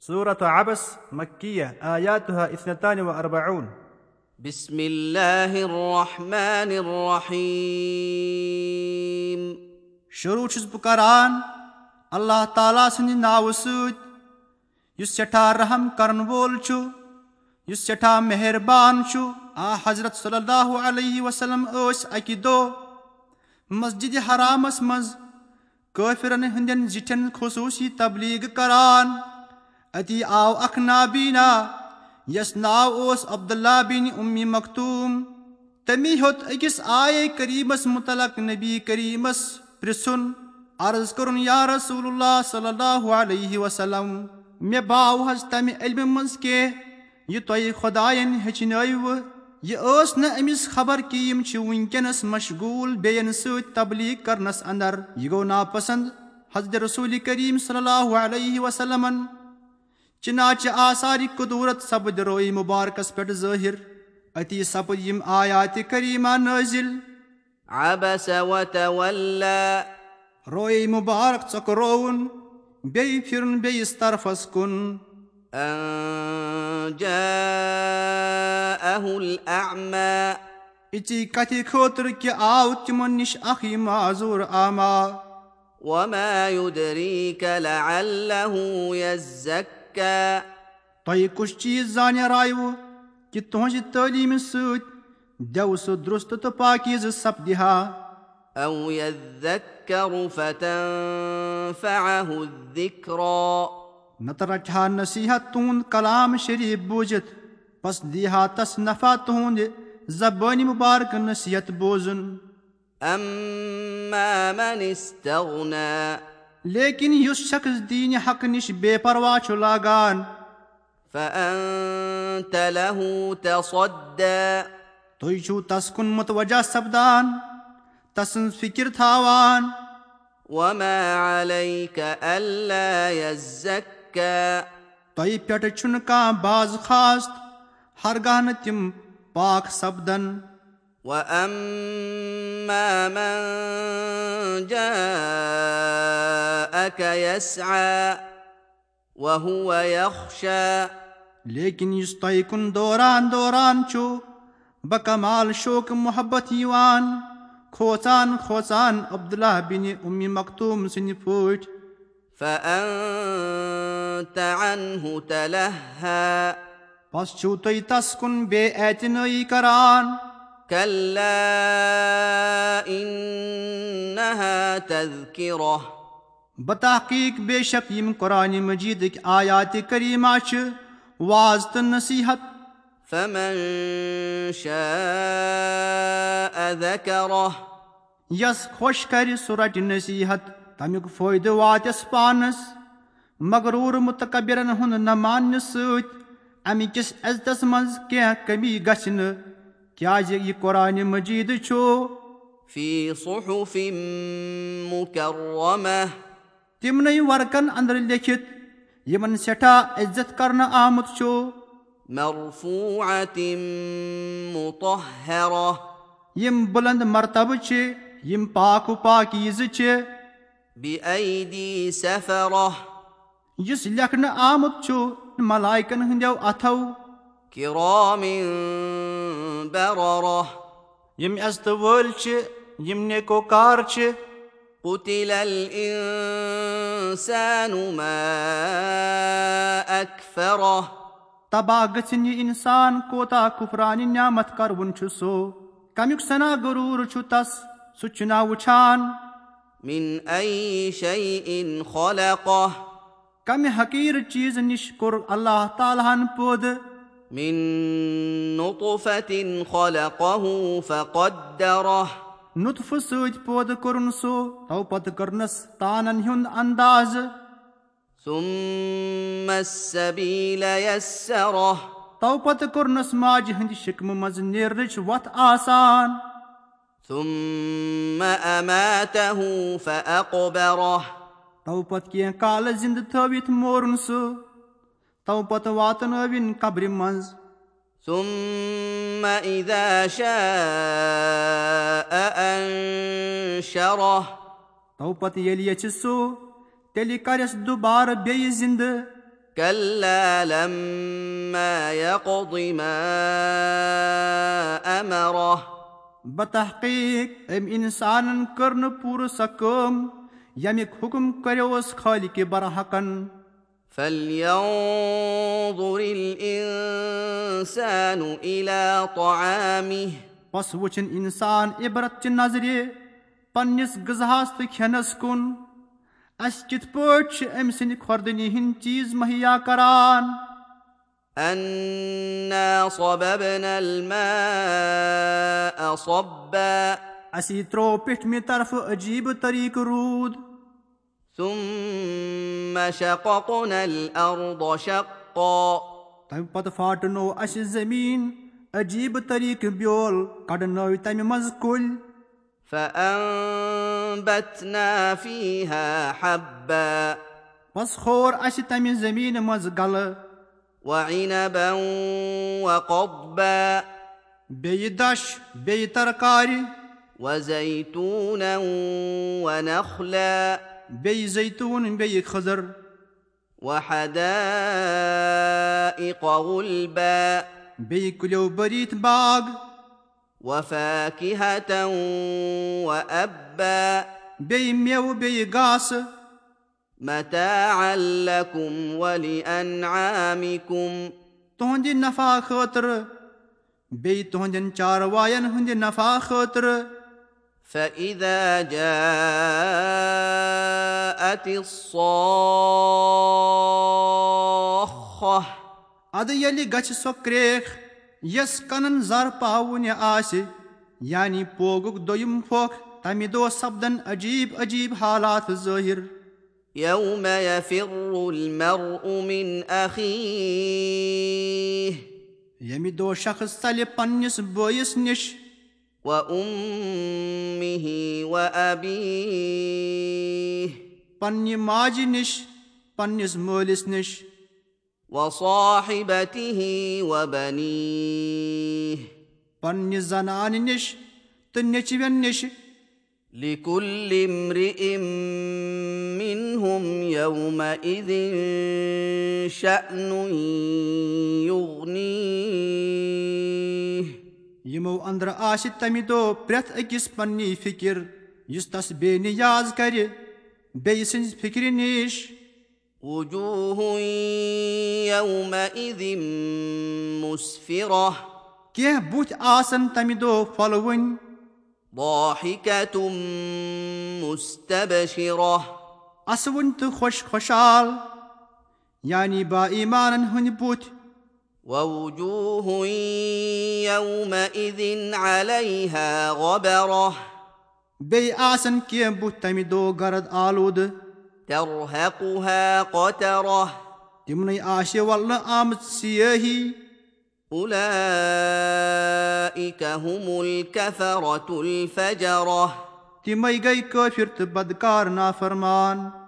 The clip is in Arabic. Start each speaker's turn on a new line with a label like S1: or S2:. S1: سورة عبس مكية آياتها اثنتان وأربعون
S2: بسم الله الرحمن الرحيم
S3: شروع چھُس بہٕ کران اللہ تعالیٰ سٕنٛدِ ناوٕ سۭتۍ یُس سٮ۪ٹھاہ رحم کرن وول چھُ یُس سٮ۪ٹھاہ مہربان چھُ آ حضرت صلی اللہ علیہ وسلم ٲسۍ اکہِ دۄہ مسجد حرامس منٛز کٲفرن ہٕنٛدٮ۪ن زِٹھٮ۪ن خصوٗصی تبلیٖغ کران اتی آو اکھ نابینا یس ناو اوس عبداللہ بن اُمی مختوٗم تٔمی ہیوٚت أکِس آیے کریٖمس متعلق نبی کریٖمس پرژھُن عرض کوٚرُن یا رسول اللہ صلی اللہ علیہ وسلم مےٚ باو حظ تمہِ علمہِ منٛز کینٛہہ یہِ تۄہہِ خۄدایَن ہیٚچھنٲیوٕ یہِ ٲس نہٕ أمِس خبر کہِ یِم چھِ وٕنکٮ۪نس مشغوٗل بیٚین سۭتۍ تبلیٖغ کرنس انٛدر یہِ گوٚو ناپسنٛد حضرت رسول کریٖم صلی اللہ علیہ وسلمن چنانچہِ آثارِ قدوٗرت سپٕد روے مُبارکس پٮ۪ٹھ ظٲہِر أتی سپٕد یِم آیاتِ کریٖما نٲزِل
S2: عبس وتولى
S3: روے مُبارک ژۄکرووُن بیٚیہِ پھِرُن بیٚیِس طرفس کُن
S2: أن جاءه الأعمى
S3: اِژی کتھِ خٲطرٕ کہِ آو تِمن نِش اکھ یہِ معذوٗر آما
S2: وما يدريك لعله يزكى
S3: تۄہہِ کُس چیٖز زانیٛارایوٕ کہِ تُہنٛزِ تعلیٖمہِ سۭتۍ دٮ۪و سُہ درُست تہٕ پاکیٖزٕ سپدِ ہا
S2: أو يذكر فتنفعه الذكرى
S3: نتہٕ رَٹہِ ہا نصیٖحت تُہُنٛد کلام شریٖف بوٗزِتھ پس دی ہا تس نفع تُہُنٛدِ زبٲنہِ مُبارکہٕ نصیٖحت بوزُن
S2: أما من استغنى
S3: لیکن یُس شخص دیٖنہِ حقہٕ نِش بے پرواہ چھُ لاگان
S2: فأنت له تصدى
S3: تُہۍ چھُو تس کُن متوجہ سپدان تسٕنٛز فِکِر تھاوان
S2: وما عليك ألا يزكى
S3: تۄہہِ پٮ۪ٹھ چھُنہٕ کانٛہہ باز خاص ہرگاہ نہٕ تِم پاک سپدن
S2: وأما من جاءك يسعى وهو يخشى
S3: لیکن یُس تۄہہِ کُن دوران دوران چھُ بکمال شوقہٕ محبت یِوان کھوژان کھوژان عبداللہ بِنہِ اُمہِ مختوٗم سٕنٛدِ پٲٹھۍ
S2: فأنت عنه تلهى
S3: پس چھُو تُہۍ تس کُن بے اعتنٲیی کران
S2: كلا إنها تذكرة
S3: بتحقیٖق بے شک یِم قرآنہِ مجیٖدٕکۍ آیاتِ کریٖما چھِ واز تہٕ نصیٖحت
S2: فمن شاء ذكره
S3: یس خۄش کرِ سُہ رٹہِ نصیٖحت تمیُک فٲیدٕ واتٮ۪س پانس مغروٗر مُتکبِرن ہُنٛد نہ ماننہٕ سۭتۍ امہِ کِس عزتس منٛز کینٛہہ کٔمی گژھِ نہٕ کیازِ یہِ قۄرانہِ مجیٖدٕ چھُ
S2: في صحف مكرمة
S3: تِمنٕے ورقن انٛدر لیٖکھِتھ یِمن سٮ۪ٹھاہ عزت کرنہٕ آمُت چھُ
S2: مرفوعة مطهرة
S3: یِم بُلند مرتبہٕ چھِ یِم پاکو پاکیٖزٕ چھِ
S2: بأيدي سفرة
S3: یُس لیکھنہٕ آمُت چھُ ملایکن ہٕنٛدیو اتھو
S2: كرام بررة
S1: یِم عزتہٕ وٲلۍ چھِ یِم نیکوکار چھِ
S2: قتل الإنسان ما أكفره
S3: تباہ گٔژھِنۍ یہِ اِنسان کوتاہ کُفرانہِ نعمت کروُن چھُ سُہ کمیُک سنا غروٗر چھُ تس سُہ چھُنا وٕچھان
S2: من أي شيء خلقه
S3: کمہِ حقیٖر چیٖزٕ نِش کوٚر اللہ تعالیٰ ہن پٲدٕ
S2: من نطفة خلقه فقدره
S3: نُطفہٕ سۭتۍ پٲدٕ کوٚرُن سُہ تو پتہٕ کٔرنس تانن ہُنٛد انٛدازٕ
S2: ثم السبيل يسره
S3: تو پتہٕ کوٚرنس ماجہِ ہٕنٛدِ شِکمہٕ منٛز نیرنٕچ وتھ آسان
S2: ثم أماته فأقبره
S3: تو پتہٕ کینٛہہ کالہٕ زِنٛدٕ تھٲوِتھ مورُن سُہ تو پتہٕ واتنٲوِن قبرِ منٛز
S2: ثم إذا شاء أنشره
S3: تو پتہٕ ییٚلہِ یژھِ سُہ تیٚلہِ کریٚس دُبارٕ بیٚیہِ زِنٛدٕ
S2: كلا لما يقض ما امره
S3: بتحقیٖق أمۍ اِنسانن کٔر نہٕ پوٗرٕ سۄ کٲم ییٚمیُک حُکم کَریوس خالِقہِ برحقن
S2: فلينظر الانسان الى طعامه
S3: پس وٕچھِن اِنسان عبرت چہِ نظرِ پنٛنِس غذہَس تہٕ کھٮ۪نَس کُن اَسہِ کِتھ پٲٹھۍ چھِ أمۍ سٕنٛدِ خۄردٔنی ہِنٛدۍ چیٖز مہیا کران
S2: انا صببنا الماء صبا
S3: اَسہِ ترٛوو پیٚٹھمہِ طرفہٕ عجیٖبہٕ طٔریٖقہٕ روٗد
S2: ثم شققنا الارض شقا
S3: تمہِ پتہٕ پھاٹنوو اَسہِ زٔمیٖن عجیٖبہٕ طٔریٖقہٕ بیول کڑنٲوۍ تمہِ منٛز کُلۍ
S2: فانبتنا فيها حبا
S3: پس ہور اَسہِ تمہِ زٔمیٖنہِ منٛز غلہٕ
S2: وعنبا وقضبا
S3: بیٚیہِ دَچھ بیٚیہِ ترکارِ
S2: وزيتونا ونخلا
S3: بیٚیہِ زیتوٗن بیٚیہِ کھٔزٕر
S2: وحدائق غلبا
S3: بیٚیہِ کُلیو بٔریٖتھ باغ
S2: وفاكهة وأبا
S3: بیٚیہِ مٮ۪وٕ بیٚیہِ گاسہٕ
S2: متاعا لكم ولأنعامكم
S3: تُہنٛدِ نفع خٲطرٕ بیٚیہِ تُہنٛدٮ۪ن چاروایَن ہٕنٛدِ نفع خٲطرٕ
S2: فإذا جاءت الصاخة
S3: اَدٕ ییٚلہِ گژھِ سۄ کرٛیکھ یۄس کَنَن زَر پاوُنہِ آسہِ یعنی پوگُک دوٚیِم پھۄکھ تَمہِ دۄہ سپدَن عجیٖب عجیٖب حالات ظٲہِر
S2: يوم يفر المرء من أخيه
S3: ییٚمہِ دۄہ شخص ژَلہِ پنٛنِس بٲیِس نِش
S2: وأمه وأبيه
S3: پنٛنہِ ماجہِ نِش پنٛنِس مٲلِس نِش
S2: وصاحبته وبنيه
S3: پنٛنہِ زنانہِ نِش تہٕ نیٚچوٮ۪ن نِش
S2: لكل امرئ منهم يومئذ شأن يغنيه
S3: یِمو أنٛدرٕ آسہِ تَمہِ دۄہ پرٛٮ۪تھ أکِس پنٛنی فِکِر یُس تَس بے نِیاز کَرِ بیٚیہِ سٕنٛزِ فِکرِ نِش
S2: وجوه يومئذ مسفرة
S3: کینٛہہ بُتھۍ آسَن تَمہِ دۄہ پھۄلوٕنۍ
S2: ضاحكة مستبشرة
S3: اَسوٕنۍ تہٕ خۄش خۄشحال یعنی با ایٖمانَن ہٕنٛدۍ بُتھۍ
S2: ووجوه يومئذ عليها غبرة
S3: بیٚیہِ آسَن کینٛہہ بُتھۍ تَمہِ دۄہ گرد آلوٗدٕ
S2: ترهقها قترة
S3: تِمنٕے آسہِ وَلنہٕ آمٕژ سیٲہی
S2: أولئك هم الكفرة الفجرة
S3: تِمَے گٔے کٲفِر تہٕ بدکار نافرمان